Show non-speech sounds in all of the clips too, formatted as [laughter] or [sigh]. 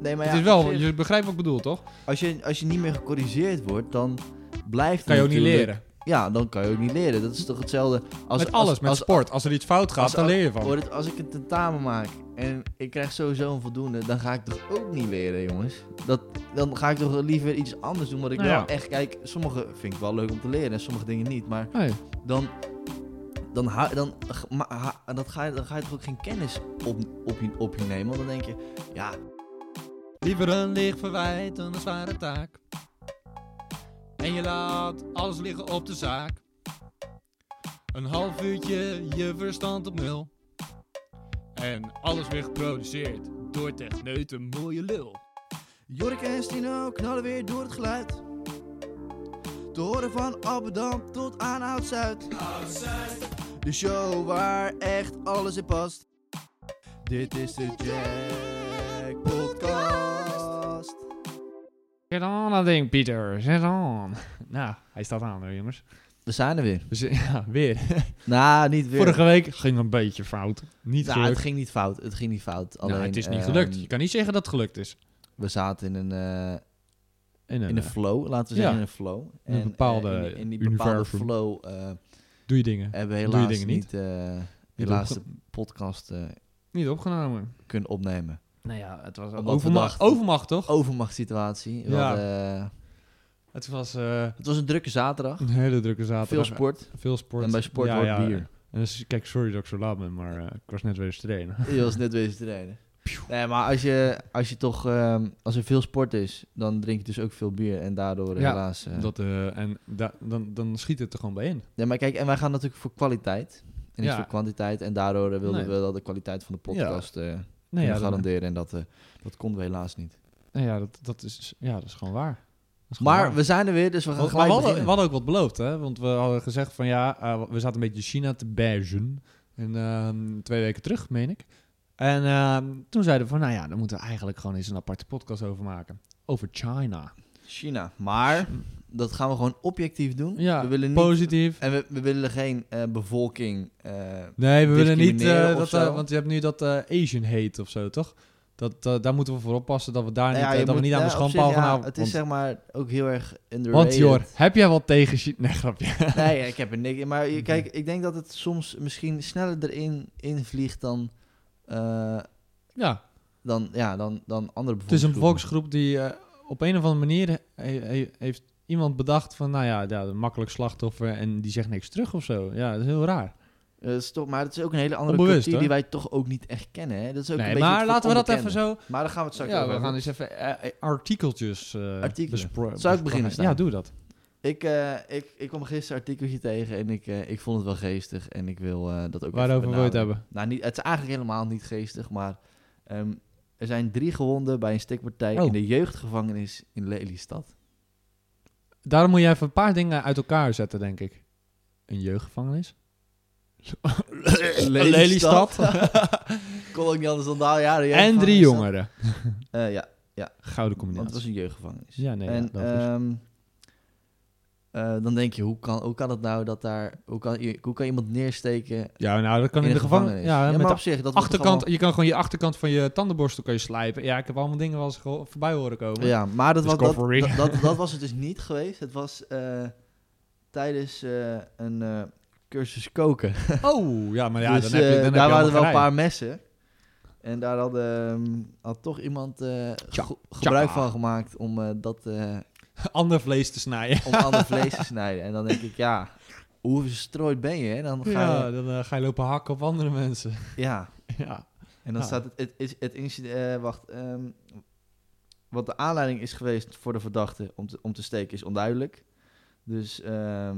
Nee, maar Het ja, is wel, op zich, je begrijpt wat ik bedoel, toch? als, je, als je niet meer gecorrigeerd wordt, dan blijft Kan je ook het niet natuurlijk- leren. Ja, dan kan je ook niet leren. Dat is toch hetzelfde als... met alles, als, met als, sport. Als er iets fout gaat, als- dan leer je van. Hoor het, als ik een tentamen maak en ik krijg sowieso een voldoende, dan ga ik toch ook niet leren, jongens. Dat, dan ga ik toch liever iets anders doen, wat ik Nou wel ja. echt... Kijk, sommige vind ik wel leuk om te leren en sommige dingen niet, maar Nee. dan... Dan, hou- dan, g- ma- ha- dat ga, je- dan ga je toch ook geen kennis op, op, je, op je nemen. Want dan denk je, ja, Liever een licht verwijt dan een zware taak. En je laat alles liggen op de zaak. Een half uurtje je verstand op nul. En alles weer geproduceerd door techneuten mooie lul. Jorik en Stino knallen weer door het geluid. Te horen van Albedam tot aan Oud-Zuid. De show waar echt alles in past. Dit is de Jack Podcast. Zet aan dat ding, Pieter. Zet aan. Nou, hij staat aan hoor, jongens. We zijn er weer. Dus [laughs] ja, weer. Nou, niet weer. Vorige week ging een beetje fout. Niet Nou, het gelukt. ging niet fout. Het ging niet fout. Nou, Alleen, het is niet ehm, gelukt. Je kan niet zeggen dat het gelukt is. we zaten in een, eh, En, in een flow, laten we Ja. zeggen in een flow. In een eh, bepaalde in, die- in die bepaalde universum. flow eh, doe je dingen. hebben we Doe je helaas dingen niet, niet. eh, Niet helaas opge- de podcast eh, Niet opgenomen. kunnen opnemen. Nou ja, het was Oh. Omdat we overmacht, dachten- overmacht, toch? Overmachtssituatie. We Ja. hadden, eh, Het was eh, het was een drukke zaterdag. een hele drukke zaterdag. Veel sport. Veel sport. En bij sport Ja, wordt ja, [laughs] bier. En dus, kijk, sorry dat ik zo laat ben, maar eh, ik was net weer eens te trainen. Je was net bezig te trainen. Pjoe. Nee, maar als je, als je toch, ehm, als er veel sport is, dan drink je dus ook veel bier. En daardoor Ja, helaas. eh, Dat, eh, en da- dan, dan schiet het er gewoon bij in. Nee, maar kijk, en wij gaan natuurlijk voor kwaliteit. En niet Ja. voor kwantiteit. En daardoor eh, wilden Nee. we wel de kwaliteit van de podcast eh Nee, kunnen ja, dan- garanderen. En dat, eh, dat konden we helaas niet. nee, ja, dat, dat is, ja, dat is gewoon waar. Dat is gewoon Maar waar. we zijn er weer, dus we gaan Want- maar gelijk we, beginnen. hadden, we hadden ook wat beloofd, hè? Want we hadden gezegd van ja, eh, we zaten een beetje China te bergen. En ehm, twee weken terug, meen ik. En ehm, toen zeiden we van nou ja, daar moeten we eigenlijk gewoon eens een aparte podcast over maken. Over China. China. Maar dat gaan we gewoon objectief doen. Ja, we willen niet, Positief. En we, we willen geen eh, bevolking eh, Nee, we willen niet discrimineren eh, of dat, zo. eh, want je hebt nu dat eh, Asian hate of zo, toch? Dat, eh, daar moeten we voor oppassen dat we daar niet, Ja, je eh, dat we moet- niet aan de ja, op schandpaal zich, gaan ja, houden. Het is eh, want, zeg maar ook heel erg underrated. want Jor, heb jij wat tegen Chi- Nee, grapje. [laughs] [laughs] Nee, ik heb er niks... Maar je- kijk, ik denk dat het soms misschien sneller erin invliegt dan, eh, ja, dan, ja, dan, dan andere het is een bevolkingsgroepen. volksgroep die eh, op een of andere manier he- he- heeft iemand bedacht van, nou ja, ja, een makkelijk slachtoffer en die zegt niks terug of zo. Ja, dat is heel raar. Eh, het is toch, maar het is ook een hele andere Onbewust, cultuur hè? die wij toch ook niet echt kennen. Hè? Dat is ook een Nee, beetje maar het laten we dat even onbekende. zo... Maar daar gaan we het straks Ja, over we gaan hebben. eens even eh, eh, artikeltjes eh Artikelen. bespro- Zou ik beginnen, bespreken. Ja, Stijn? doe dat. Ik, eh, ik, ik kwam gisteren een artikeltje tegen en ik, eh, ik vond het wel geestig. En ik wil eh, dat ook Waarover even wil je het benadrukken. hebben? Nou, niet, het is eigenlijk helemaal niet geestig, maar ehm, er zijn drie gewonden bij een steekpartij Oh. in de jeugdgevangenis in [coughs] Lelystad. Daarom moet je even een paar dingen uit elkaar zetten, denk ik. Een jeugdgevangenis. [laughs] Kon ook niet anders dan daar. Ja, de en drie jeugdgevangenis. jongeren. Eh, ja, Gouden want het was combinatie. een jeugdgevangenis. Ja, nee, en ja, dat is- ehm, eh, dan denk je, hoe kan, hoe kan het nou dat daar... Hoe kan, je- hoe kan iemand neersteken ja, nou, dat kan in, een de gevangenis. Ja, met maar de op zich, dat wordt toch achterkant, je kan gewoon je achterkant van je tandenborstel kan je slijpen. Ja, ik heb allemaal dingen wel eens geho- voorbij horen komen. allemaal- Ja, maar dat, was- dat, Discovery. dat, dat, dat was het dus niet geweest. Het was eh, tijdens eh, een eh, cursus koken. [laughs] Oh, ja, maar ja, dus dan heb je, eh, dan daar heb je waren allemaal wel een gerij. paar messen. En daar had, ehm, had toch iemand eh, Tja, ge- gebruik tjaka. van gemaakt om, eh, dat, eh, Ander vlees te snijden. [laughs] om ander vlees te snijden. En dan denk ik, ja, hoe verstrooid ben je? hè? [laughs] Dan ga Ja, je, dan eh, ga je lopen hakken op andere mensen. [laughs] ja. ja. En dan Ja. staat het, het, is- het incident, eh, wacht, ehm, wat de aanleiding is geweest voor de verdachte om te, om te steken is onduidelijk. Dus ehm,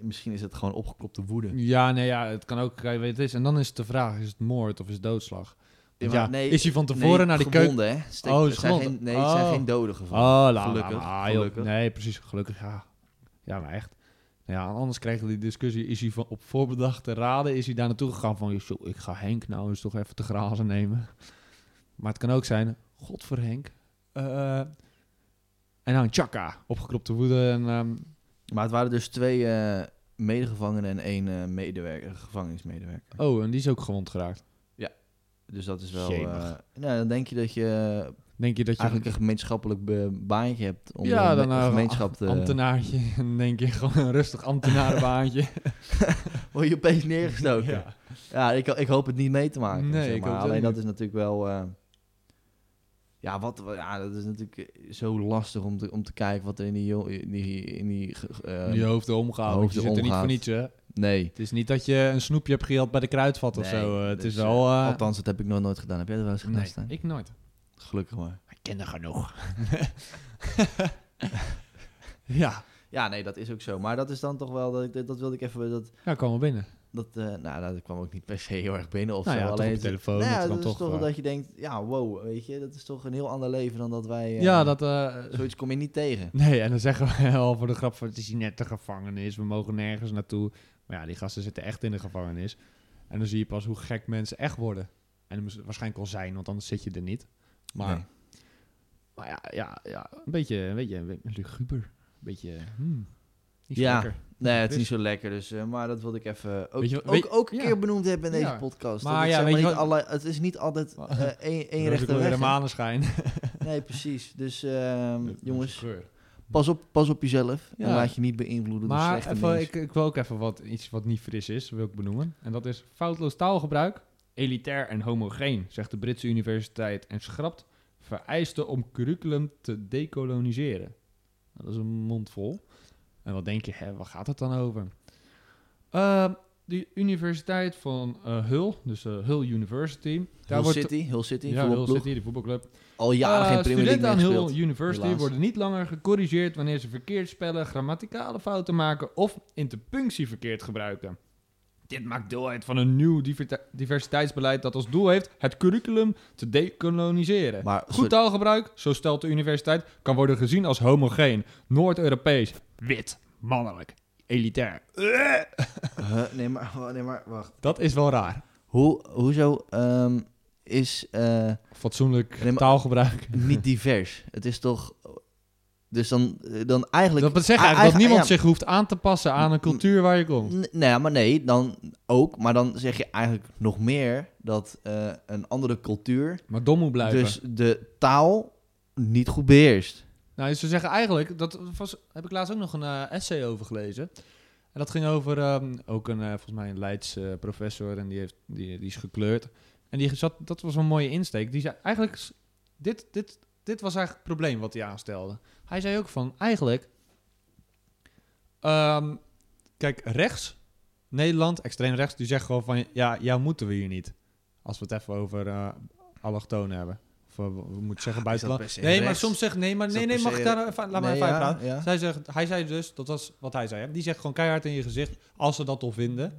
misschien is het gewoon opgekropte woede. ja, nee, ja, het kan ook, kijk, weet je, het is. En dan is het de vraag, is het moord of is het doodslag? Ja, ja, maar nee, is hij van tevoren nee, naar de keuken? gewonden, Hè? Steek, Oh, oh, is zijn gewonden. geen, nee, het zijn Oh. geen doden Oh, gevallen. la, la, Gelukkig, la, joh. gelukkig. Nee, precies, gelukkig, ja. Ja, maar echt. Nou Ja, anders krijg je die discussie, is hij van, op voorbedachte raden, is hij daar naartoe gegaan van, "Zo, ik ga Henk nou eens toch even te grazen nemen. Maar het kan ook zijn, god voor Henk. eh, en dan tjaka, opgekropte woede. En, ehm, Maar het waren dus twee eh, medegevangenen en één eh, medewerker, gevangenismedewerker. oh, en die is ook gewond geraakt. Dus dat is wel... Jemig. eh, nou, dan denk je dat je Denk je dat je Eigenlijk een gemeenschappelijk be- baantje hebt om Ja, ja, dan, eh, gemeenschap te... een ambtenaartje... [laughs] En denk je gewoon een rustig ambtenarenbaantje. [laughs] Word je opeens neergestoken. [laughs] ja, [laughs] ja. ik, ik hoop het niet mee te maken. Nee, zeg ik maar. hoop het Alleen ook dat niet. is natuurlijk wel... eh, ja, wat, wa- ja, dat is natuurlijk eh, zo lastig om te, om te kijken wat er in die... jo- in die, in die ge- ge- eh, In je hoofd omgaan. want Je hoofden zit er niet voor omgaat. niets, hè? nee. Het is niet dat je een snoepje hebt gehaald bij de kruidvat of Nee, zo. eh, het dus, is wel... eh, eh, althans, dat heb ik nog nooit gedaan. Heb jij dat wel eens gedaan, [laughs] nee, Stijn? ik nooit. Gelukkig maar. Ik ken er genoeg. [laughs] ja, Ja, nee, dat is ook zo. Maar dat is dan toch wel... Dat, ik, dat wilde ik even... Dat, nou komen we binnen. dat, eh, nou, dat kwam ook niet per se heel erg binnen of nou zo. ja, toch op alleen de het- telefoon. Nou ja, dat dat dan is toch, toch wel eh, dat je denkt, ja, wow, weet je, dat is toch een heel ander leven dan dat wij... eh, ja, dat... eh, Zoiets kom je niet tegen. nee, en dan zeggen we [laughs] al voor de grap van... Het is hier net de gevangenis, we mogen nergens naartoe. Maar ja, die gasten zitten echt in de gevangenis. En dan zie je pas hoe gek mensen echt worden. En dat moest- waarschijnlijk al zijn, want anders zit je er niet. Maar, Nee. maar ja, ja, ja, een beetje, een beetje, een beetje luguber. Een beetje... hmm, niet zo Ja, lekker. Nee, het is niet zo lekker, dus, eh, maar dat wilde ik even ook, Weet je wat- ook, weet- ook een ja. keer benoemd hebben in deze Ja. podcast. Maar Maar ja, ja, weet je niet wat- alle, het is niet altijd eh, één, één Dan is het rechte ook weer weg. de hè. maneschijn. [laughs] Nee, precies. Dus ehm, jongens, Geur. pas op, pas op jezelf en Ja. laat je niet beïnvloeden door Maar slechte even, nieuws. ik, ik wil ook even wat, iets wat niet fris is, wil ik benoemen. En dat is foutloos taalgebruik, elitair en homogeen, zegt de Britse universiteit. En schrapt vereisten om curriculum te decoloniseren. Nou, dat is een mondvol. En wat denk je, hè, waar gaat het dan over? Ehm, de Universiteit van eh, Hull, dus eh, Hull University. Hull City, Hull City, ja, Hull voetbalploeg. City, de voetbalclub. Al jaren Eh, geen Premier League studenten meer aan gespeeld. Hull University helaas. worden niet langer gecorrigeerd wanneer ze verkeerd spellen, grammaticale fouten maken of interpunctie verkeerd gebruiken. Dit maakt deel uit van een nieuw diver- diversiteitsbeleid dat als doel heeft het curriculum te decoloniseren. Maar Goed taalgebruik, zo stelt de universiteit, kan worden gezien als homogeen, Noord-Europees, wit, mannelijk, elitair. [laughs] Huh, nee, maar, nee, maar wacht. Dat is wel raar. Hoe, hoezo ehm, is... eh, Fatsoenlijk Nee, maar- taalgebruik. niet divers. Het is toch. Dus dan, dan eigenlijk. Dat betekent eigenlijk dat Ah, eigen- niemand ja. zich hoeft aan te passen aan een cultuur waar je komt. N- Nee, maar nee, dan ook. Maar dan zeg je eigenlijk nog meer dat eh, een andere cultuur. Maar dom moet blijven. Dus de taal niet goed beheerst. Nou, ze zeggen eigenlijk, dat was, heb ik laatst ook nog een eh, essay over gelezen. En dat ging over ehm, ook een, eh, volgens mij een Leids eh, professor en die, heeft, die, die is gekleurd. En die zat, dat was een mooie insteek. Die zei eigenlijk, s- dit, dit, dit was eigenlijk het probleem wat hij aanstelde. Hij zei ook van, eigenlijk, ehm, kijk, rechts, Nederland, extreem rechts, die zegt gewoon van, ja, jou moeten we hier niet. Als we het even over eh allochtonen hebben. Of eh, we moeten zeggen per buitenland. se Nee, maar rechts? soms zegt nee, maar Is nee, dat nee, per mag se ik daar nou even, laat maar Nee, even ja, uitpraten. ja. Zij zegt, hij zei dus, dat was wat hij zei. Hè? Die zegt gewoon keihard in je gezicht, als ze dat al vinden.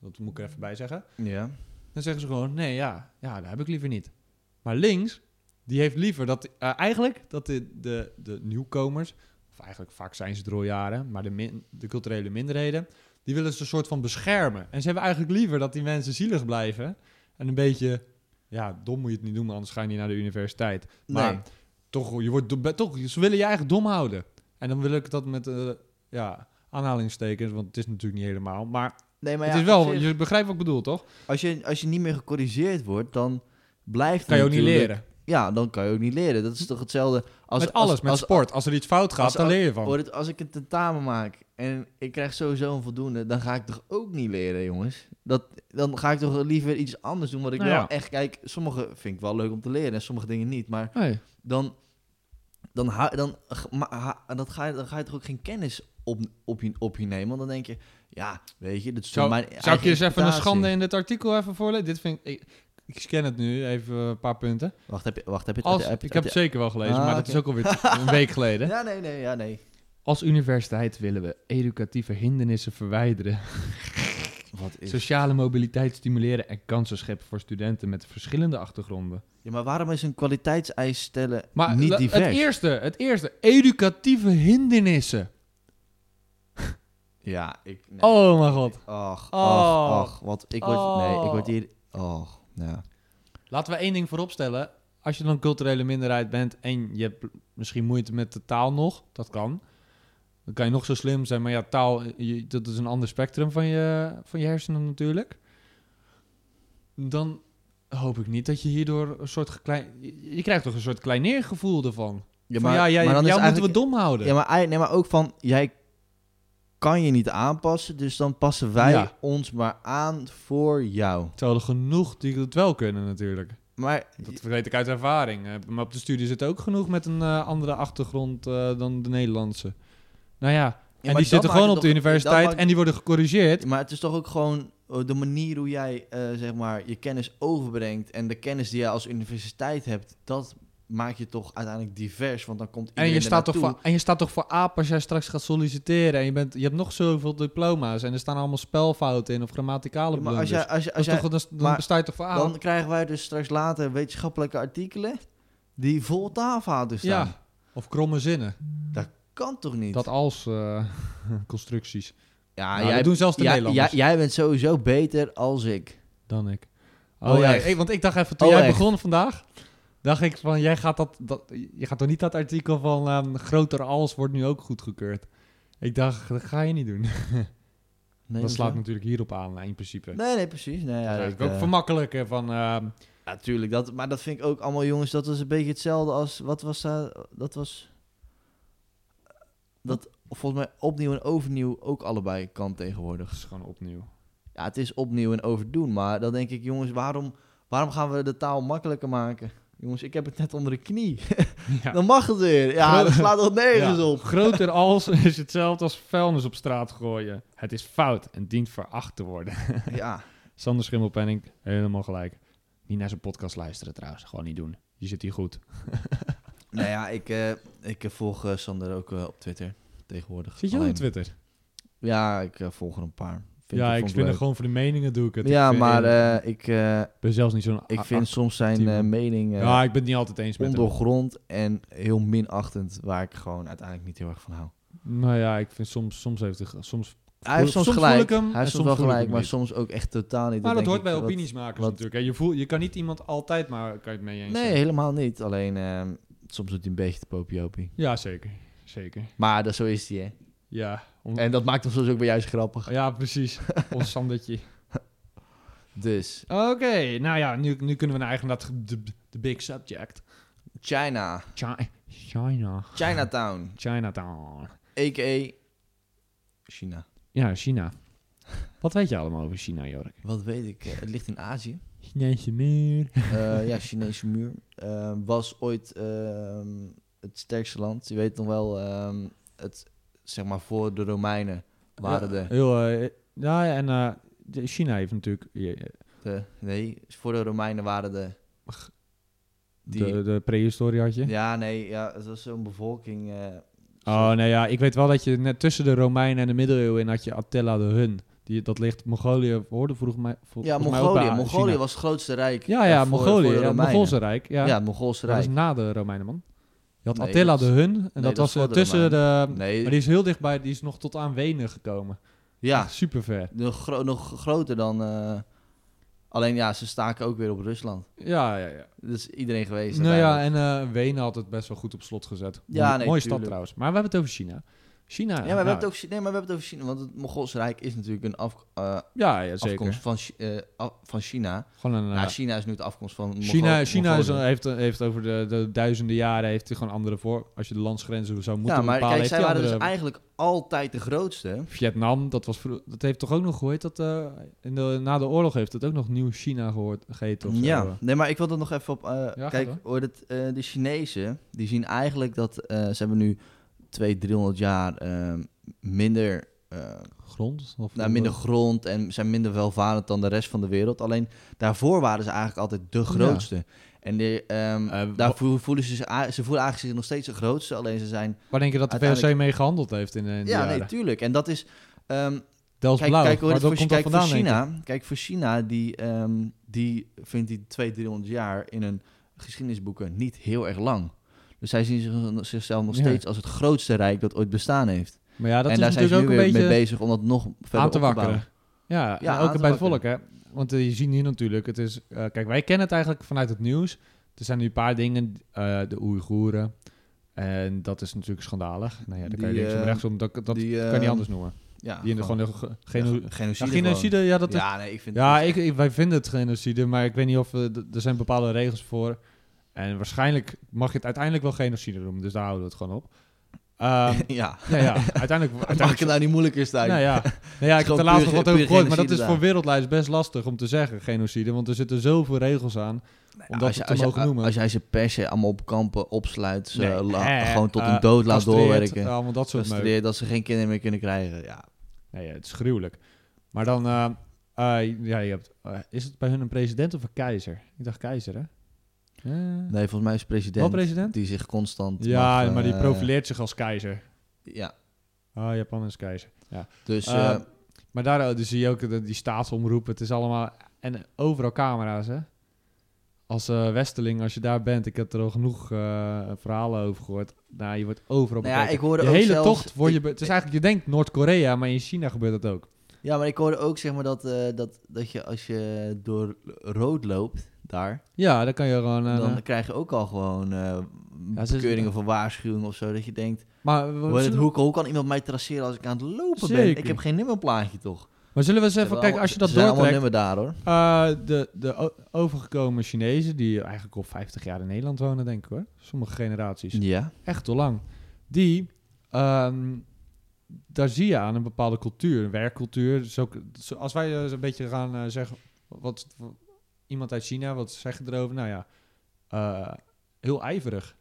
Dat moet ik er even bij zeggen. Ja. Dan zeggen ze gewoon, nee, ja, ja, dat heb ik liever niet. Maar links, die heeft liever dat eh, eigenlijk dat de, de, de nieuwkomers, of eigenlijk vaak zijn ze drooljaren, maar de, min, de culturele minderheden, die willen ze een soort van beschermen. En ze hebben eigenlijk liever dat die mensen zielig blijven en een beetje, ja, dom moet je het niet doen, maar anders ga je niet naar de universiteit. Maar Nee. toch, je wordt, do- be- toch, ze willen je eigenlijk dom houden. En dan wil ik dat met, eh, ja, aanhalingstekens, want het is natuurlijk niet helemaal, maar, Nee, maar ja, het is wel, op zich, je begrijpt wat ik bedoel, toch? als, je, als je niet meer gecorrigeerd wordt, dan blijft. Kan je ook het niet natuurlijk- leren. Ja, dan kan je ook niet leren. Dat is toch hetzelfde als. met alles, als, met als- sport. Als er iets fout gaat, als- dan leer je van. Hoor het, als ik een tentamen maak en ik krijg sowieso een voldoende, dan ga ik toch ook niet leren, jongens. Dat, dan ga ik toch liever iets anders doen wat ik Nou wel ja. echt kijk. Sommige vind ik wel leuk om te leren en sommige dingen niet, maar dan dan hou- dan g- ma- ha- en dat ga je dan ga je toch ook geen kennis op, op, je, op je nemen, want dan denk je, ja, weet je, dat is toch Zou, mijn zou ik eigen je eens even een interpretatie. schande in dit artikel even voorlezen? Dit vind ik, ik, ik scan het nu, even eh, een paar punten. Wacht, heb je wacht, heb je het Als, heb je- ik heb het heb je- zeker wel gelezen, Ah, maar dat oké. is ook alweer [laughs] t- een week geleden. Ja, nee, nee, ja, nee. Als universiteit willen we educatieve hindernissen verwijderen, Wat is sociale mobiliteit stimuleren en kansen scheppen voor studenten met verschillende achtergronden. Ja, maar waarom is een kwaliteitseis stellen Maar niet la- divers? het eerste, het eerste, educatieve hindernissen. Ja, ik nee. Oh mijn god. Ach, Oh. ach, ach. Want ik word... Nee, ik word hier... Och, ja. Laten we één ding vooropstellen. Als je dan een culturele minderheid bent en je hebt misschien moeite met de taal nog, dat kan. Dan kan je nog zo slim zijn, maar ja, taal, je- dat is een ander spectrum van je, van je hersenen natuurlijk. Dan hoop ik niet dat je hierdoor een soort klein... Je, je krijgt toch een soort kleineergevoel ervan. Ja, van, ja, jij, maar dan is jou moeten we eigenlijk- dom houden. Ja, maar, ei- nee, maar ook van, jij kan je niet aanpassen, dus dan passen wij Ja. ons maar aan voor jou. Terwijl er genoeg die het wel kunnen natuurlijk. Maar Dat weet ik uit ervaring. Eh, Maar op de studie zit ook genoeg met een eh, andere achtergrond eh, dan de Nederlandse. Nou ja, en die zitten gewoon op de universiteit en die worden gecorrigeerd. Maar het is toch ook gewoon eh, de manier hoe jij eh, zeg maar, je kennis overbrengt en de kennis die jij als universiteit hebt, dat maakt je toch uiteindelijk divers, want dan komt En iedereen je, staat toch ernaartoe. voor, en je staat toch voor aap als jij straks gaat solliciteren. En je, bent, je hebt nog zoveel diploma's. En er staan allemaal spelfouten in of grammaticale Ja, maar als blunders. jij, als, je, als Dat jij, is toch, dan dan maar sta je toch voor aap? dan krijgen wij dus straks later wetenschappelijke artikelen die vol taalvaten staan. ja. Of kromme zinnen. Kan toch niet? Dat als eh, [laughs] constructies. ja, Nou, dat doen zelfs de jij- Nederlanders. jij- jij bent sowieso beter als ik. Dan ik. Oh, Oh, ja, echt? hey, want ik dacht even, toen Oh, jij echt? begon vandaag, dacht ik van, jij gaat dat, dat je gaat toch niet dat artikel van ehm, groter als wordt nu ook goedgekeurd. Ik dacht, [laughs] dat ga je niet doen. Nee, dat hoezo? slaat natuurlijk hierop aan, in principe. Nee, nee, precies. Nee, ja, dat dat, is ook eh, vermakkelijker van, ehm, Ja, tuurlijk. Dat, maar dat vind ik ook allemaal, jongens, dat was een beetje hetzelfde als... Wat was dat? Dat was... Dat volgens mij opnieuw en overnieuw ook allebei kan tegenwoordig. dat is gewoon opnieuw. [laughs] Ja, het is opnieuw en overdoen. Maar dan denk ik, jongens, waarom, waarom gaan we de taal makkelijker maken? Jongens, ik heb het net onder de knie. Ja. Dan mag het weer. Ja, dat slaat toch nergens Ja, op. Groter als [laughs] is hetzelfde als vuilnis op straat gooien. Het is fout en dient veracht te worden. [laughs] [laughs] Ja, Sander Schimmelpenning, helemaal gelijk. Niet naar zijn podcast luisteren trouwens, gewoon niet doen. Je zit hier goed. nou ja, ik, eh, ik eh, volg eh, Sander ook eh, op Twitter tegenwoordig. Zit je ook Alleen- op Twitter? Ja, ik eh, volg er een paar. Vind- ja, vond ik vind leuk. het gewoon voor de meningen doe ik het. Ik Ja, vind- maar eh, ik, eh, Ik ben zelfs niet zo'n... ik a- vind soms zijn actieve- eh, mening eh, a- ja, ik ben het niet altijd eens met hem. ondoorgrond en heel minachtend, waar ik gewoon uiteindelijk niet heel erg van hou. Nou ja, ik vind soms... Soms heeft hij... Soms... Hij heeft Soms soms, voel gelijk, ik hem en hij heeft soms wel soms voel ik gelijk, hem maar niet. soms ook echt totaal niet. Maar Dan dat denk hoort bij ik, wat- opiniesmakers wat- natuurlijk. Hè. Je, voelt, je kan niet iemand altijd maar... Kan je het mee eens Nee, zijn. helemaal niet. Alleen ehm, soms doet hij een beetje de popiopie. Ja, zeker. Zeker. Maar dat, zo is hij, hè. Ja. Om- En dat maakt hem soms ook bij juist grappig. Ja, precies. [laughs] Ons Sandertje. Dus, Oké, nou ja, nu, nu kunnen we naar eigenlijk naar het- de, de big subject. China. Chi- China. [laughs] Chinatown. Chinatown. A.k.a. China. Ja, China. Wat weet je allemaal over China, Jorik? Wat weet ik. eh, Het ligt in Azië. [laughs] Chinese muur. Eh, ja, Chinese muur. Eh, was ooit ehm, het sterkste land. Je weet nog wel, ehm, het, zeg maar voor de Romeinen waren Ja, de, Heel, eh, ja, en eh, de- China heeft natuurlijk je- de- Nee, voor de Romeinen waren de... Die, de, de prehistorie had je. Ja, nee, ja, het was zo'n bevolking... eh, Oh, nee, ja, ik weet wel dat je net tussen de Romeinen en de middeleeuwen in had je Attila de Hun. Die, dat ligt Mongolië, hoorde vroeg mij. vol- ja, volgens mij ook bij Mongolië. China. Mongolië was het grootste rijk. Ja, eh, ja, voor- Mongolië. voor de ja, het Romeinen. Mongoolse Rijk. Ja, Ja, het Mongoolse dat rijk. is na de Romeinen, man. Je had Nee, Attila dat is- de Hun. En nee, dat dat was is voor eh, de tussen de. Nee, Maar die is heel dichtbij, die is nog tot aan Wenen gekomen. ja, Super ver. nog, gro- nog groter dan... eh, alleen ja, ze staken ook weer op Rusland. Ja, ja, ja. Dat is iedereen geweest. Nou ja, uiteindelijk. en eh, Wenen had het best wel goed op slot gezet. Ja, Mooi- nee, Mooie stad tuurlijk. trouwens. Maar we hebben het over China. China. Ja, maar nou, we hebben het ook, nee, maar we hebben het over China. Want het Mongoolse Rijk is natuurlijk een af, eh, Ja, ja zeker. afkomst van, Chi- eh, af- van China. Gewoon een, eh, Nou, China is nu de afkomst van Mongo- China, China is, Mongolen. heeft, eh, heeft over de, de duizenden jaren heeft hij gewoon andere voor. Als je de landsgrenzen zou moeten Ja, maar bepalen, kijk, zij heeft hij waren dus andere- eigenlijk altijd de grootste. Vietnam, dat was vroeg- dat heeft toch ook nog gehoord dat eh, in de, na de oorlog heeft het ook nog nieuw China gehoord geheten of zo. eh, Ja, nee, maar ik wil dat nog even op... eh, gaat kijk, door. hoor, dat, eh, de Chinezen, die zien eigenlijk dat... eh, ze hebben nu 200, 300 jaar eh, minder... eh, Grond of eh, nou, minder grond en zijn minder welvarend dan de rest van de wereld. Alleen daarvoor waren ze eigenlijk altijd de grootste. En die, ehm, Eh, wa- daarvoor voelen ze zich, a- ze voelen eigenlijk zich nog steeds de grootste. Alleen ze zijn. Waar denk je dat de VOC Uiteindelijk- mee gehandeld heeft in, in die ja, jaren? nee, tuurlijk. En dat is. ehm, Delft kijk, Blauw. kijk, Waar hoor, dat voor, komt kijk dat voor vandaan, denk ik? China. Kijk, voor China, die, ehm, die vindt die 200, 300 jaar in hun geschiedenisboeken niet heel erg lang. Dus zij zien zich- zichzelf nog Ja. steeds als het grootste rijk dat ooit bestaan heeft. Maar ja, dat en is daar zijn ze natuurlijk nu ook een weer mee beetje bezig om dat nog verder aan op te bouwen. wakkeren. Ja, en Ja, aan ook te bij het volk, hè. wakkeren. Want eh, je ziet hier natuurlijk, het is... eh, kijk, wij kennen het eigenlijk vanuit het nieuws. Er zijn nu een paar dingen, eh, de Oeigoeren. En dat is natuurlijk schandalig. Nou ja, daar kan je Die, links en eh, rechts om, dat, dat die, kan je niet ehm, anders noemen. Ja, Die in de, gewoon de ge- geno- ja, Nou, genocide. ja, genocide, ja, dat is... Ja, nee, ik vind Ja, ik, ik- wij vinden het genocide, maar ik weet niet of... eh, d- er zijn bepaalde regels voor. En waarschijnlijk mag je het uiteindelijk wel genocide noemen, dus daar houden we het gewoon op. [laughs] Ehm, ja. [laughs] ja, ja, uiteindelijk... Mag ik uiteindelijk het nou niet moeilijker staan? nou [laughs] ja, nou ja ik heb gewoon er laatst puur nog ge- wat over puur gehoord, maar dat is genocide daar. voor wereldlijst best lastig om te zeggen, genocide. Want er zitten zoveel regels aan om dat Nou, als, je, te als, mogen je, noemen. als jij ze per se allemaal op kampen opsluit, ze Nee, la- eh, gewoon tot een eh, dood laat castreert, doorwerken. eh, Allemaal dat soort meuk. Castreert, dat ze geen kinderen meer kunnen krijgen. Ja, Nee, ja, het is gruwelijk. Maar dan, eh, eh, ja, je hebt, eh, is het bij hun een president of een keizer? Ik dacht keizer, hè? Eh, Nee, volgens mij is wel president president? die zich constant. Ja, mag, maar die eh, profileert zich als keizer. Ja, Ah, Japan is keizer. dus eh, Eh, maar daar eh, dus zie je ook dat die staatsomroep. Het is allemaal... En overal camera's, hè? Als eh, Westeling, als je daar bent... Ik heb er al genoeg eh, verhalen over gehoord. Nou, je wordt overal Nou ja, bekeken. ik hoorde je ook hele zelfs- tocht word je... ik- be- Het is eigenlijk... Je denkt Noord-Korea, maar in China gebeurt dat ook. ja, maar ik hoorde ook zeg maar dat, eh, dat, dat je als je door rood loopt daar, Ja, dan kan je gewoon... eh, dan krijg je ook al gewoon eh Ja, ze- bekeuringen voor waarschuwing of zo. Dat je denkt, maar, hoe, het, hoe, hoe kan iemand mij traceren als ik aan het lopen ben? Zeker. Ik heb geen nummerplaatje toch? maar zullen we eens Ze even... hebben allemaal- Kijk, als je dat ze zijn allemaal nummer doortrekt... daar hoor. eh, de, de o- overgekomen Chinezen... die eigenlijk al 50 jaar in Nederland wonen, denk ik hoor. Sommige generaties. Ja. echt al lang. Die, ehm, daar zie je aan een bepaalde cultuur, een werkcultuur. Dus ook, zo- als wij eh, een beetje gaan eh, zeggen, wat, wat- iemand uit China, wat zeg je erover? Nou ja, eh, heel ijverig.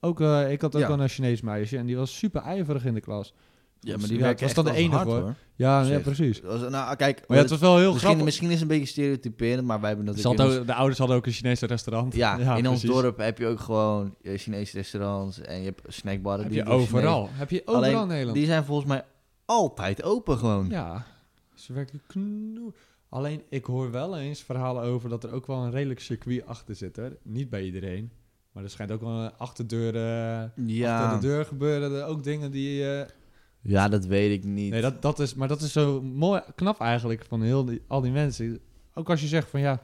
Ook, eh, ik had ook Ja. al een Chinees meisje en die was super ijverig in de klas. Ja, maar Dus die ja, werken het was dan echt de wel enige hard, hoor. Ja, Op ja zich. precies. Dat was- Nou, kijk, Maar ja, het was wel heel misschien, grappig. misschien is het een beetje stereotyperend, maar wij hebben Ze natuurlijk... had in ons- ook- de ouders hadden ook een Chinese restaurant. [laughs] Ja, in ons precies. dorp heb je ook gewoon eh, Chinese restaurants en je hebt snackbarren. heb die je door overal. Heb je overal Alleen, in Nederland. Chinezen- Die zijn volgens mij altijd open gewoon. Ja, ze werken knoe. Alleen, ik hoor wel eens verhalen over dat er ook wel een redelijk circuit achter zit. Hoor. Niet bij iedereen, maar er schijnt ook wel een achterdeur... eh, Achter Ja, de deur gebeuren er ook dingen die... eh, ja dat weet ik niet. Nee, dat, dat is, maar dat is zo mooi, knap eigenlijk van heel die, al die mensen. Ook als je zegt van ja...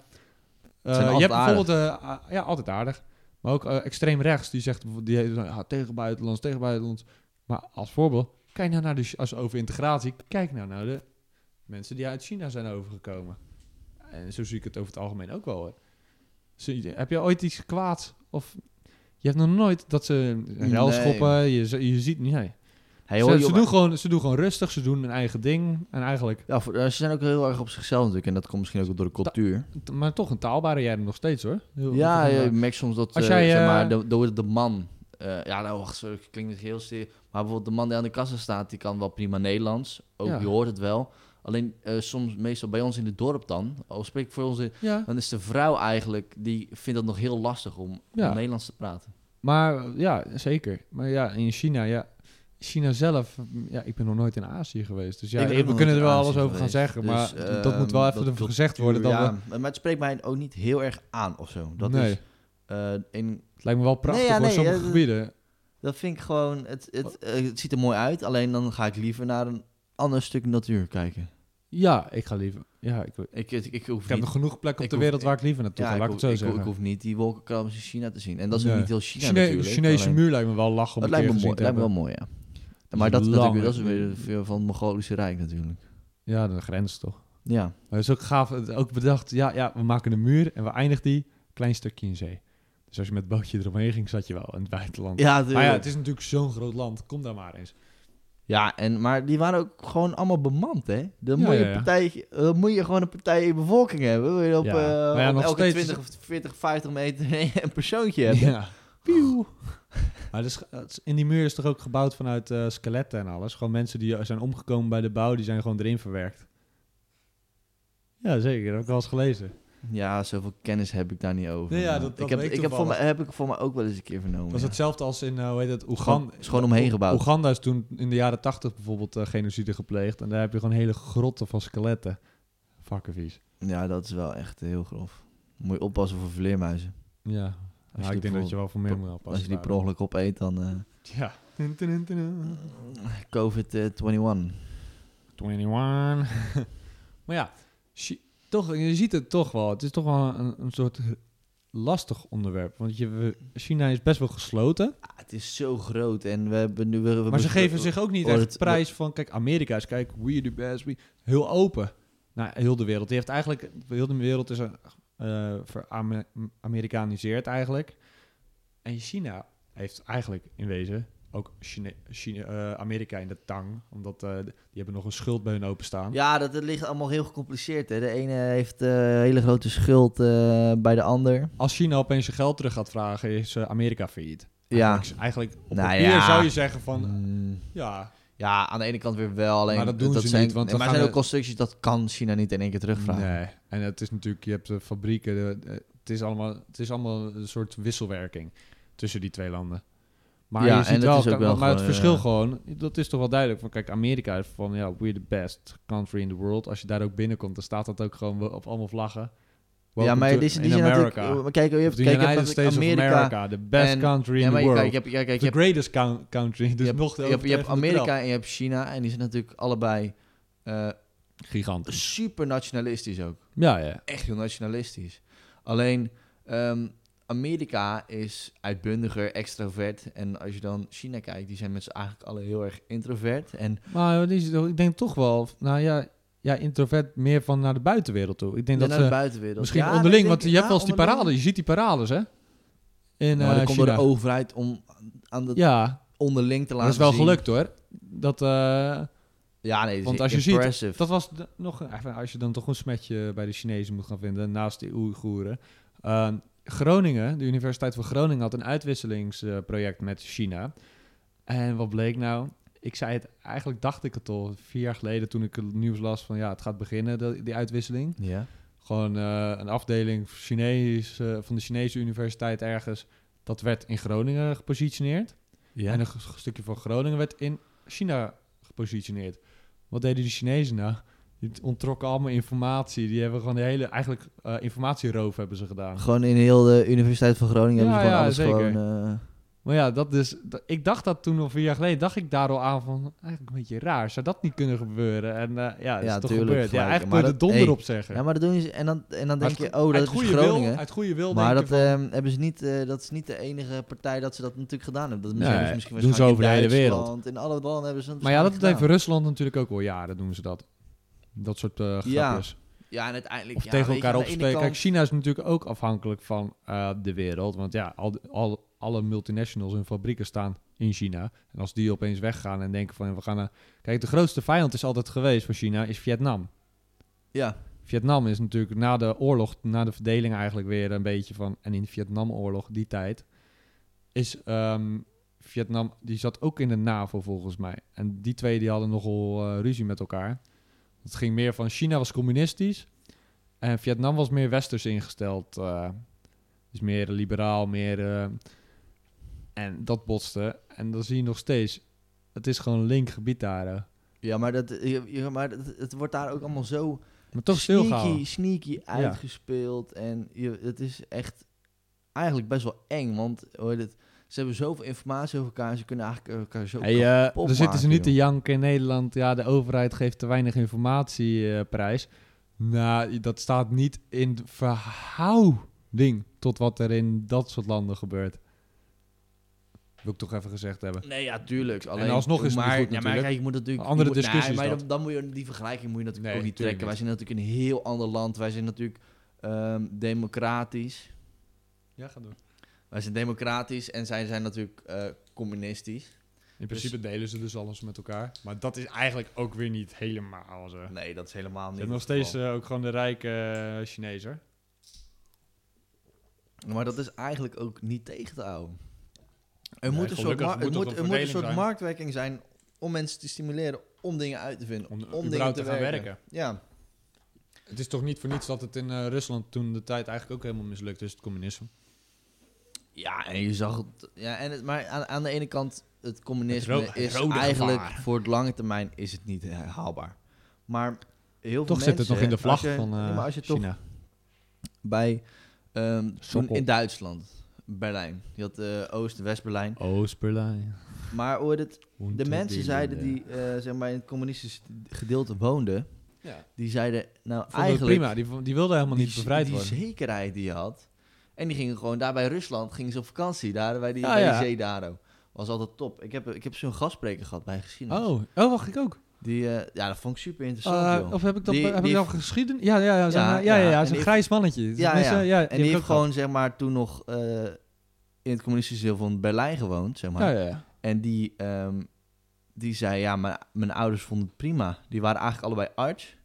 eh, zijn je altijd hebt bijvoorbeeld... eh, a- ja, altijd aardig. Maar ook eh, extreem rechts, die zegt bijvoorbeeld- die, heeft dan, ja, tegen buitenlands, tegen buitenlands. Maar als voorbeeld, kijk nou naar de... Chi- Als over integratie, kijk nou naar de mensen die uit China zijn overgekomen. En zo zie ik het over het algemeen ook wel. hoor. Zie je- heb je ooit iets kwaads? Of je hebt nog nooit dat ze rel schoppen, je, z- je ziet niet... Nee Hey, hoor, ze, ze joh, doen gewoon, ze doen gewoon rustig, ze doen hun eigen ding. En eigenlijk, ja, voor- eh, ze zijn ook heel erg op zichzelf natuurlijk en dat komt misschien ook door de cultuur. t- maar toch een taalbarrière nog steeds hoor. Heel- ja, heel- je merkt soms dat, Als eh, jij, zeg eh, maar, de, de, de man... eh, ja, nou, wacht, sorry, klinkt het heel stil. Maar bijvoorbeeld de man die aan de kassa staat, die kan wel prima Nederlands. Ook, Ja. je hoort het wel. Alleen eh, soms, meestal bij ons in het dorp dan, al spreek ik voor ons in, ja. Dan is de vrouw eigenlijk, die vindt het nog heel lastig om, Ja. om Nederlands te praten. Maar ja, zeker. Maar ja, in China, ja. China zelf, ja, ik ben nog nooit in Azië geweest. Dus ja, Ik ben ook we nog kunnen er nooit wel in alles Azië over gaan geweest. zeggen. Dus, maar d- dat moet wel ehm, even dat ervoor gezegd worden. Dat ja, we, maar het spreekt mij ook niet heel erg aan of zo. Dat nee, is eh, in, het lijkt me wel prachtig Nee, ja, voor nee, sommige ja, dat- gebieden. dat vind ik gewoon, het, het, eh, het ziet er mooi uit. Alleen dan ga ik liever naar een ander stuk natuur kijken. Ja, ik ga liever. Ja, ik, ik Ik, ik, ik hoef heb niet. nog genoeg ik plekken op de hoef- wereld waar ik liever naartoe ja, ga, ik, laat ik hoef, het zo ik, hoef- ik zeggen. hoef niet die wolkenkrabbers in China te zien. En dat is Nee. niet heel China Chine- natuurlijk. Chinese alleen- muur lijkt me wel lach om Het een lijkt keer me, mooi, gezien het te lijkt me hebben. wel mooi, ja. is Maar dat, dat, lang, dat is hè? weer veel van het Mongolische Rijk natuurlijk. Ja, de grens toch. Ja, Maar het is ook gaaf, het- ook bedacht, ja, ja, we maken een muur en we eindigen die klein stukje in zee. Dus als je met het bootje eromheen ging, zat je wel in het buitenland. ja, maar ja, tuurlijk. het is natuurlijk zo'n groot land, kom daar maar eens. Ja, en, maar die waren ook gewoon allemaal bemand, hè? Dan, Ja, moet, je ja, ja. Partij, dan moet je gewoon een partij in je bevolking hebben. Wil je op, Ja. eh Maar ja, op nog elke steeds- 20, of 40, 50 meter [laughs] een persoontje hebben. Pieuw. [laughs] Maar dus, in die muur is toch ook gebouwd vanuit eh, skeletten en alles? Gewoon mensen die eh, zijn omgekomen bij de bouw, die zijn gewoon erin verwerkt. Ja, zeker. Dat heb ik wel eens gelezen. Ja, zoveel kennis heb ik daar niet over. Nee, ja, maar dat- dat ik heb, weet ik ik heb, voor mij, toevallig. heb ik voor mij ook wel eens een keer vernomen. Dat is ja. hetzelfde als in, eh, hoe heet dat, gewoon- Oeganda. is gewoon omheen gebouwd. Oeganda is toen in de jaren tachtig bijvoorbeeld eh, genocide gepleegd. En daar heb je gewoon hele grotten van skeletten. Fucking vies. Ja, dat is wel echt heel grof. Moet je oppassen voor vleermuizen. Ja, Als ja je ik die denk dat je wel voor meer moet oppassen. Als je die per daarom. ongeluk opeet, dan eh, eh, Ja. Dun, dun, dun, dun. COVID-21. [laughs] 21. maar ja, Chi- toch, je ziet het toch wel. Het is toch wel een, een soort lastig onderwerp. Want je, we- China is best wel gesloten. Ah, het is zo groot en we hebben nu... We, we maar ze bespreken- geven zich ook niet oh, echt dat- prijs van... Kijk, Amerika is, kijk, we are the best. We, heel open. Nou, heel de wereld. Die heeft eigenlijk... Heel de wereld is eh ver-Amerikaniseerd eigenlijk. En China heeft eigenlijk in wezen ook Chine, Chine- eh, Amerika in de tang. Omdat eh, die hebben nog een schuld bij hun openstaan. Ja, dat, dat ligt allemaal heel gecompliceerd. Hè. De ene heeft eh, een hele grote schuld eh, bij de ander. Als China opeens zijn geld terug gaat vragen, is eh, Amerika failliet. Ja. Eigenlijk, eigenlijk op Nou papier ja. zou je zeggen van... Mm. Ja, Ja, aan de ene kant weer wel. Alleen Maar dat doen ze zijn, niet, want nee, we maar gaan zijn ook de- constructies dat kan China niet in één keer terugvragen. Nee, en het is natuurlijk, je hebt de fabrieken, de- de- het, is allemaal, het is allemaal een soort wisselwerking tussen die twee landen. Maar, Ja, je ziet en dat wel, is ook maar, wel maar gewoon, het eh, verschil ja. gewoon, dat is toch wel duidelijk. Van, kijk, Amerika is van, ja, we're the best country in the world. Als je daar ook binnenkomt, dan staat dat ook gewoon op allemaal vlaggen. ja, Welcome maar to- die, die in zijn America. natuurlijk... Maar kijk, je hebt, The kijk, je hebt United natuurlijk States Amerika... of America, the best en- country in ja, maar the je, world. kijk, je hebt, ja, kijk, je the hebt, greatest coun- country. Dus je hebt, nog de je hebt, je [laughs] hebt overtreffende Amerika trap. en je hebt China. En die zijn natuurlijk allebei eh, Gigantisch. super nationalistisch ook. Ja, ja. Echt heel nationalistisch. Alleen ehm, Amerika is uitbundiger, extravert. En als je dan China kijkt, die zijn met z'n eigenlijk alle heel erg introvert. En Maar die is- ik denk toch wel, nou ja, ja, introvert meer van naar de buitenwereld toe. Ik denk en dat naar ze de buitenwereld. misschien Ja, nee, onderling, ik want je denk- hebt wel ja, eens die onderling. parades, je ziet die parades hè. In, maar eh, dat komt door China. de overheid om aan dat ja, onderling te dat laten is zien. wel gelukt hoor. Dat, eh, Ja, nee, Want want als als je ziet, impressive. dat was de- nog, een- even, als je dan toch een smetje bij de Chinezen moet gaan vinden, naast de Oeigoeren. Eh, Groningen, de Universiteit van Groningen had een uitwisselingsproject met China. En wat bleek nou? Ik zei het, eigenlijk dacht ik het al vier jaar geleden toen ik het nieuws las van ja, het gaat beginnen, de- die uitwisseling. Ja. Gewoon eh, een afdeling Chinees, eh, van de Chinese universiteit ergens. Dat werd in Groningen gepositioneerd. ja. En een g- stukje van Groningen werd in China gepositioneerd. Wat deden die Chinezen nou? Die ontrokken allemaal informatie. Die hebben gewoon de hele, eigenlijk eh, informatieroof hebben ze gedaan. Gewoon in heel de Universiteit van Groningen Ja, hebben ze gewoon ja, alles zeker. gewoon... eh, Maar ja, dat is, dat- ik dacht dat toen al vier jaar geleden, dacht ik daar al aan van, eigenlijk een beetje raar. Zou dat niet kunnen gebeuren? En eh, ja, dat Ja, is toch tuurlijk, gebeurd. Ja, gelijk. eigenlijk Maar kun je de dat- donder hey, op zeggen. ja, maar dat doen ze... En dan, en dan denk Uit je, go- oh, dat uit is goede Wil, Groningen. uit goede wil maar denk dat, je van, ehm, hebben ze niet, eh, dat is niet de enige partij dat ze dat natuurlijk gedaan hebben. Dat Nee, hebben ze misschien doen ze over de hele waarschijnlijk in wereld. Duitsland, In alle landen hebben ze het Maar ja, dat heeft waarschijnlijk Rusland natuurlijk ook al jaren doen ze dat. Dat soort eh, grapjes. gedaan. Ja, en uiteindelijk... Of ja, tegen weet je, elkaar aan de ene opspreken. Kijk, kant- China is natuurlijk ook afhankelijk van eh, de wereld. Want ja, al, die- al, alle multinationals en fabrieken staan in China. En als die opeens weggaan en denken van... We gaan, naar- kijk, de grootste vijand is altijd geweest van China, is Vietnam. Ja, Vietnam is natuurlijk na de oorlog, na de verdeling eigenlijk weer een beetje van... En in de Vietnamoorlog, die tijd, is ehm, Vietnam... Die zat ook in de NAVO volgens mij. En die twee die hadden nogal eh, ruzie met elkaar. Het ging meer van China was communistisch... En Vietnam was meer westers ingesteld. eh, dus meer liberaal, meer... eh, en dat botste. En dan zie je nog steeds... Het is gewoon een link gebied daar. hè. ja maar, dat, je- je- maar dat, het wordt daar ook allemaal zo... Maar toch stilgaan. sneaky, sneaky uitgespeeld. En je, het is echt eigenlijk best wel eng. Want hoor het, ze hebben zoveel informatie over elkaar. Ze kunnen eigenlijk elkaar zo. Hey, eh, kapot dan zitten ze maken, niet te janken in Nederland. Ja, de overheid geeft te weinig informatie eh, prijs. Nou, dat staat niet in de verhouding tot wat er in dat soort landen gebeurt. Wil ik toch even gezegd hebben. Nee, ja, tuurlijk. Alleen, alsnog is het maar, niet goed ja, maar natuurlijk. kijk, je moet natuurlijk... Andere je moet- discussie nee, is maar dat. dan, dan moet je die vergelijking moet je natuurlijk Nee, ook niet tuurlijk trekken. Wij niet. zijn natuurlijk een heel ander land. Wij zijn natuurlijk ehm, democratisch. Ja, ga doen. Wij zijn democratisch en zij zijn natuurlijk eh, communistisch. In principe delen ze dus alles met elkaar. Maar dat is eigenlijk ook weer niet helemaal zo. Ze Nee, dat is helemaal niet. hebben nog het geval. steeds eh, ook gewoon de rijke eh, Chinezer. eh, Maar dat is eigenlijk ook niet tegen te houden. Er Nee, moet een soort, gelukkig mar- moet er dat moet, er een moet een verdeling soort zijn. marktwerking zijn om mensen te stimuleren om dingen uit te vinden. Om, Om, dingen überhaupt te gaan werken. Ja. Het is toch niet voor niets dat het in eh, Rusland toen de tijd eigenlijk ook helemaal mislukt is, het communisme. ja, en je zag het. Ja, en het maar aan, aan de ene kant, het communisme Het ro- het is rode eigenlijk gevaar. voor het lange termijn is het niet eh, haalbaar. Maar heel veel Toch zit het nog in de vlag van China. eh, maar als je toch China. bij ehm, toen Sokkel. in Duitsland, Berlijn, je had eh, Oost- en West-Berlijn. Oh, Oost-Berlijn. Maar hoor het, De mensen zeiden die eh, zeg maar in het communistische gedeelte woonden, die zeiden nou Vonden het eigenlijk prima, die, vo- die wilden helemaal die, niet bevrijd die worden. zekerheid die je had. En die gingen gewoon daar bij Rusland, gingen ze op vakantie, daar bij die, Ja, bij ja. die zee daar. Was altijd top. Ik heb, ik heb zo'n gastspreker gehad bij geschiedenis. Oh, oh, wacht ik ook. Die, eh, ja, dat vond ik super interessant, Eh, joh. of heb ik dat, Die- heb die ik dat geschiedenis? Ja, ja, ja, zo'n- Ja, ja, ja, ja, ja, en zo'n die- grijs mannetje. Ja, Tenminste, ja. ja, en die heb die ik heeft ook gewoon, zeg maar, toen nog eh, in het communistische deel van Berlijn gewoond, zeg maar. gehad. Ja, ja, ja. En die, ehm, die zei, ja, mijn, mijn ouders vonden het prima. Die waren eigenlijk allebei arts.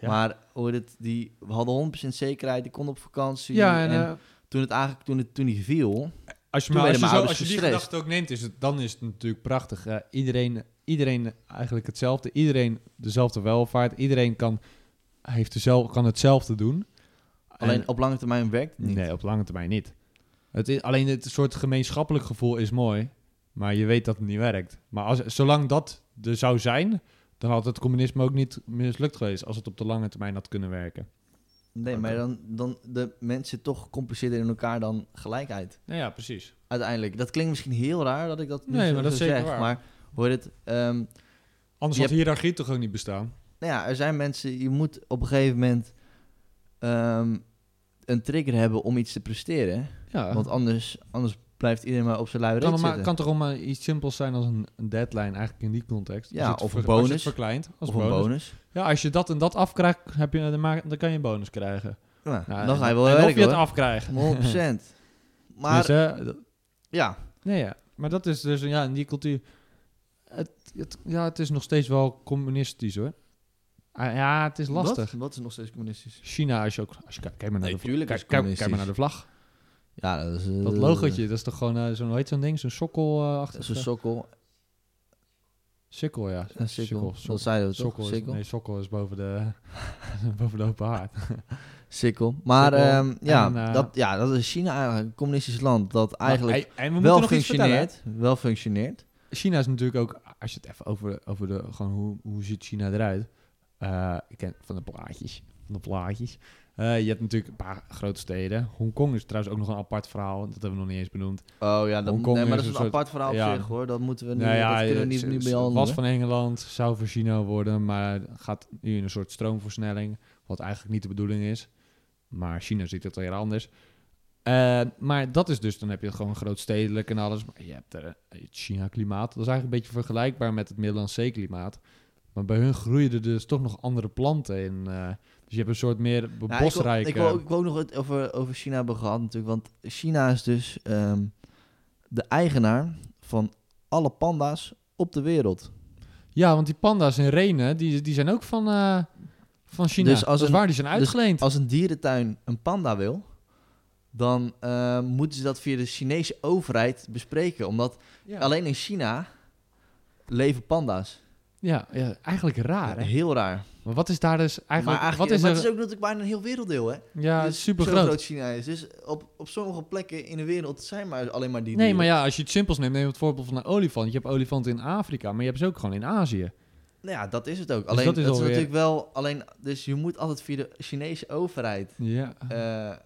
Ja. Maar hoe het, die we hadden 100% zekerheid, die konden op vakantie. Ja, en, en eh, toen het eigenlijk, toen, het, toen die viel, als je, Toen maar, als werden je, mijn zo, ouders als je die gestrest. gedachte ook neemt, is het, dan is het natuurlijk prachtig. Eh, iedereen, iedereen eigenlijk hetzelfde. Iedereen dezelfde welvaart. Iedereen kan, heeft dezelfde, kan hetzelfde doen. alleen En- op lange termijn werkt het niet. Nee, op lange termijn niet. Het is, alleen het soort gemeenschappelijk gevoel is mooi, maar je weet dat het niet werkt. Maar als, zolang dat er zou zijn, dan had het communisme ook niet mislukt geweest als het op de lange termijn had kunnen werken. Nee, maar dan, dan de mensen toch gecompliceerder in elkaar dan gelijkheid. Nou ja, precies. Uiteindelijk. Dat klinkt misschien heel raar dat ik dat nu Nee, zo, maar dat zo is zeker zeg. waar. Maar hoor het, ehm, Anders Je had hiërarchie toch ook niet bestaan? nou ja, er zijn mensen, je moet op een gegeven moment ehm, een trigger hebben om iets te presteren. Ja, Want anders, anders blijft iedereen maar op zijn lui kan, reet er maar, zitten. kan toch ook maar iets simpels zijn als een, een deadline eigenlijk in die context? Ja, Als je het of ver- een als je bonus. het verkleint, als of een bonus. bonus. Ja, als je dat en dat afkrijgt, heb je, dan, ma- dan kan je een bonus krijgen. Ja, Nou, dan en- ga je wel en Of je werken het hoor. afkrijgt. [laughs] 100%. Maar Dus, hè, ja, Nee, ja. Maar dat is dus, ja, in die cultuur... Het, het- ja, het is nog steeds wel communistisch, hoor. Ah, ja, het is lastig. Wat, wat is nog steeds communistisch? China, als je ook... Als je, kijkt- kijk, maar naar Nee, de, tuurlijk kijk, is kijk- communistisch. kijk maar naar de vlag. Ja, dat is... eh, Dat logootje, dat is toch gewoon eh, zo'n, hoe heet zo'n ding? Zo'n sokkel eh, dat achter. is een sokkel. Sikkel, ja. Een sikkel. Sokkel, Dat zeiden we toch? sokkel is, Sikkel. Nee, sokkel is boven de, [laughs] boven de open haard. Sikkel. Maar Sikkel. ehm, ja, En, eh, dat, ja, dat is China eigenlijk. Een communistisch land dat eigenlijk Maar, hey, en we wel, moeten nog iets vertellen. functioneert, wel functioneert. China is natuurlijk ook, als je het even over, over de, gewoon hoe, hoe ziet China eruit? Eh, ik ken van de plaatjes. Van de plaatjes. Eh, je hebt natuurlijk een paar grote steden. Hongkong is trouwens ook nog een apart verhaal. Dat hebben we nog niet eens benoemd. Oh ja, dat, Hongkong nee, maar is dat is een een soort- apart verhaal op ja. zich hoor. Dat moeten we nu, Nou dat kunnen we niet, het nu is- behandelen. was van Engeland, zou voor China worden, maar gaat nu in een soort stroomversnelling. Wat eigenlijk niet de bedoeling is. Maar China ziet het weer anders. Eh, maar dat is dus, dan heb je gewoon grootstedelijk en alles. Maar je hebt er eh, het China-klimaat. Dat is eigenlijk een beetje vergelijkbaar met het Middellandse Zeeklimaat. Maar bij hun groeien er dus toch nog andere planten in. eh. dus je hebt een soort meer Nou, ik wil- bosrijke... Ik wil, ook- ik wil ook nog het over, over China hebben gehad natuurlijk. Want China is dus ehm, de eigenaar van alle panda's op de wereld. Ja, want die panda's in Renen, die, die zijn ook van, eh, van China. Dus als dat is een- waar, die zijn uitgeleend. Als een dierentuin een panda wil, dan ehm, moeten ze dat via de Chinese overheid bespreken. Omdat ja. alleen in China leven panda's. Ja, ja, eigenlijk raar, hè? Heel raar. Maar wat is daar dus eigenlijk... maar eigenlijk, wat is maar er, het is ook natuurlijk bijna een heel werelddeel, hè? ja, Dus super zo groot. China is. Dus op, op sommige plekken in de wereld zijn maar alleen maar die Nee, dieren. maar ja, als je het simpels neemt, neem het voorbeeld van een olifant. Je hebt olifanten in Afrika, maar je hebt ze ook gewoon in Azië. Nou ja, dat is het ook. Alleen, Dus dat dat is is, alweer- natuurlijk wel... Alleen, dus je moet altijd via de Chinese overheid Ja. eh,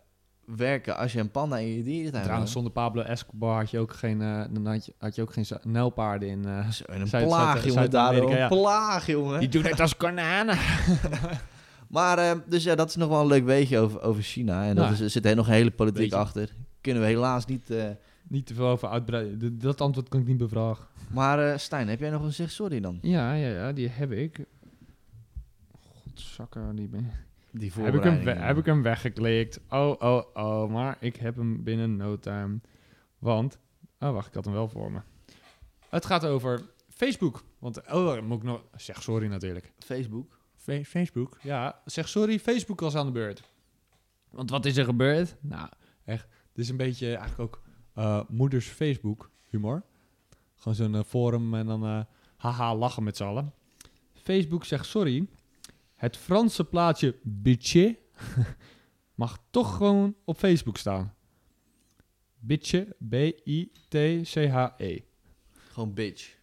werken als je een panda in je dierentuin wil. Trouwens, zonder Pablo Escobar had je ook geen, eh, dan had je, had je ook geen za- nijlpaarden [laughs] in... eh, Zo, en een Zuid- plaag, Zuid- jongen, daar. Zuid-Amerika, hoor. Een ja. plaag, jongen. die doen het als kananen. Maar, eh, dus ja, dat is nog wel een leuk weetje over, over China. En Ja. dat is, er zit heel nog een hele politiek Beetje. achter. Kunnen we helaas niet... eh, Niet te veel over uitbreiden. D- Dat antwoord kan ik niet bevragen. maar eh, Stijn, heb jij nog een zeg sorry dan? Ja, ja, ja, die heb ik. Godzakker, die ben Die Heb ik, hem, voorbereiding. we- heb ik hem weggeklikt? Oh, oh, oh. Maar ik heb hem binnen no time. Want... Oh, wacht. Ik had hem wel voor me. Het gaat over Facebook. Want... Oh, dan moet ik nog... Zeg sorry natuurlijk. Facebook. Fe- Facebook? Ja, zeg sorry. Facebook was aan de beurt. Want wat is er gebeurd? Nou, echt. Dit is een beetje eigenlijk ook eh, moeders Facebook humor. Gewoon zo'n eh, forum en dan eh, haha lachen met z'n allen. Facebook zegt sorry. Het Franse plaatje bitje [laughs] mag toch gewoon op Facebook staan. Bitje, B-I-T-C-H-E. Gewoon bitch. E,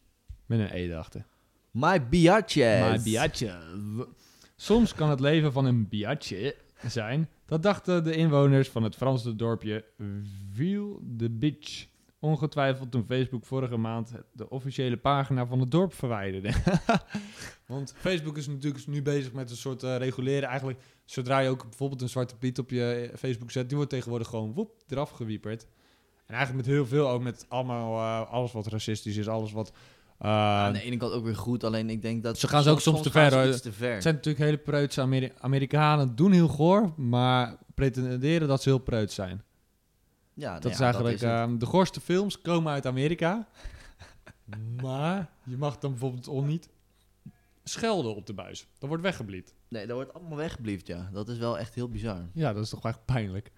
Met een E daarachter. My biatches. Maar biatje. Soms kan het leven van een biatje zijn. Dat dachten de inwoners van het Franse dorpje Ville de Bitch. ongetwijfeld toen Facebook vorige maand de officiële pagina van het dorp verwijderde. [laughs] Want Facebook is natuurlijk nu bezig met een soort eh, reguleren. Eigenlijk, zodra je ook bijvoorbeeld een zwarte piet op je eh, Facebook zet, die wordt tegenwoordig gewoon woep, eraf gewieperd. En eigenlijk met heel veel ook met allemaal, eh, alles wat racistisch is, alles wat... eh, Aan de ene kant ook weer goed, alleen ik denk dat... Ze gaan ze ook soms te gaan ver, ze hoor. iets te ver. Het zijn natuurlijk hele preutse Ameri- Amerikanen, doen heel goor, maar pretenderen dat ze heel preut zijn. Ja, nou Dat ja, is eigenlijk, het. ehm, de goorste films komen uit Amerika. [laughs] maar je mag dan bijvoorbeeld ook niet schelden op de buis. Dat wordt weggebliet. Nee, dat wordt allemaal weggeblieft, ja. Dat is wel echt heel bizar. Ja, dat is toch echt pijnlijk.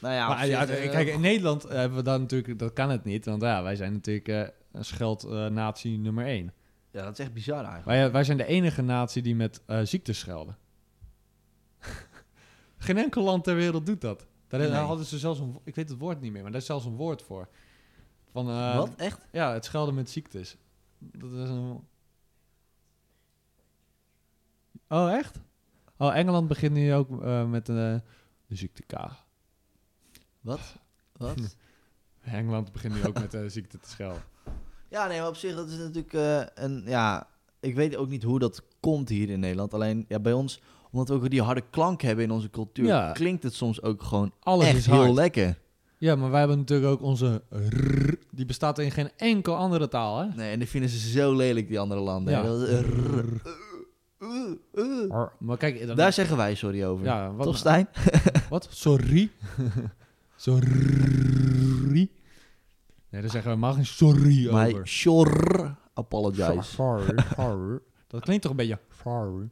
Nou ja, op maar, ja, zich, eh, kijk, in Nederland hebben we dan natuurlijk, dat kan het niet. Want ja, wij zijn natuurlijk eh, een scheldnatie nummer één. ja, dat is echt bizar eigenlijk. Wij, eh, wij zijn de enige natie die met eh, ziektes schelden. [laughs] Geen enkel land ter wereld doet dat. Daar daar Nee. hadden ze zelfs een, ik weet het woord niet meer, maar daar is zelfs een woord voor. Van, eh, Wat? Echt? Ja, het schelden met ziektes. Dat is een... Oh, echt? Oh, Engeland begint nu ook eh, met een, eh, de ziekte K. Wat? eh, Wat? Engeland begint nu ook met de ziekte te [laughs] schelden. ja, nee, maar op zich, dat is natuurlijk eh, een... Ja, ik weet ook niet hoe dat komt hier in Nederland. Alleen, ja, bij ons, omdat we ook die harde klank hebben in onze cultuur... Ja. klinkt het soms ook gewoon Alles echt is heel hard. lekker. ja, maar wij hebben natuurlijk ook onze rrr, Die bestaat in geen enkel andere taal, hè? Nee, en die vinden ze zo lelijk, die andere landen. Ja. hè. Dat is- eh, eh, eh. Maar kijk... Dan, Daar zeggen wij sorry over. ja, wat, Toch, Stijn? Wat? [laughs] Sorry? sorry? Nee, dan zeggen we maar geen sorry My over. sure apologize. Sorry, sorry. Dat klinkt toch een beetje... Sorry.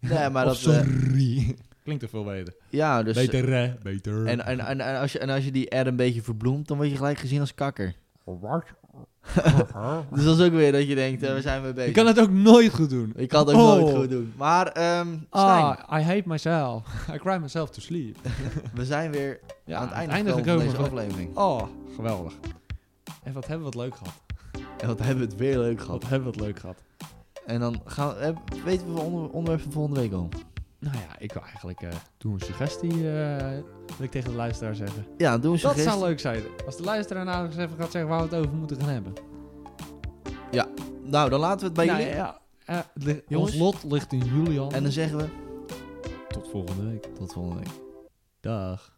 Nee, maar Of dat... eh, sorry. [laughs] Klinkt er veel beter. ja, dus... beter, hè? Beter. En, en, en, en als je, en als je die R een beetje verbloemt, dan word je gelijk gezien als kakker. Wat? Dus dat is ook weer dat je denkt, eh, we zijn weer bezig. Je kan het ook nooit goed doen. Ik kan het ook Oh. nooit goed doen. Maar ehm Stijn, Ah, I hate myself. [laughs] I cry myself to sleep. we zijn weer Ja, aan het einde, gekomen van deze aflevering. Oh, geweldig. En wat hebben we het leuk gehad. En wat hebben we het weer leuk Wat gehad. hebben we het leuk gehad. En dan gaan we, eh, weten we het onder, onderwerp van volgende week al. Nou ja, ik wil eigenlijk... eh doe een suggestie, eh wil ik tegen de luisteraar zeggen. Ja, doe een Dat zou suggestie. leuk zijn. Als de luisteraar nou eens even gaat zeggen waar we het over moeten gaan hebben. Nou, dan laten we het bij Nou, jullie. ja, eh, het ligt- Jongens. ons lot ligt in Julian. En dan zeggen we tot volgende week. tot volgende week. Dag.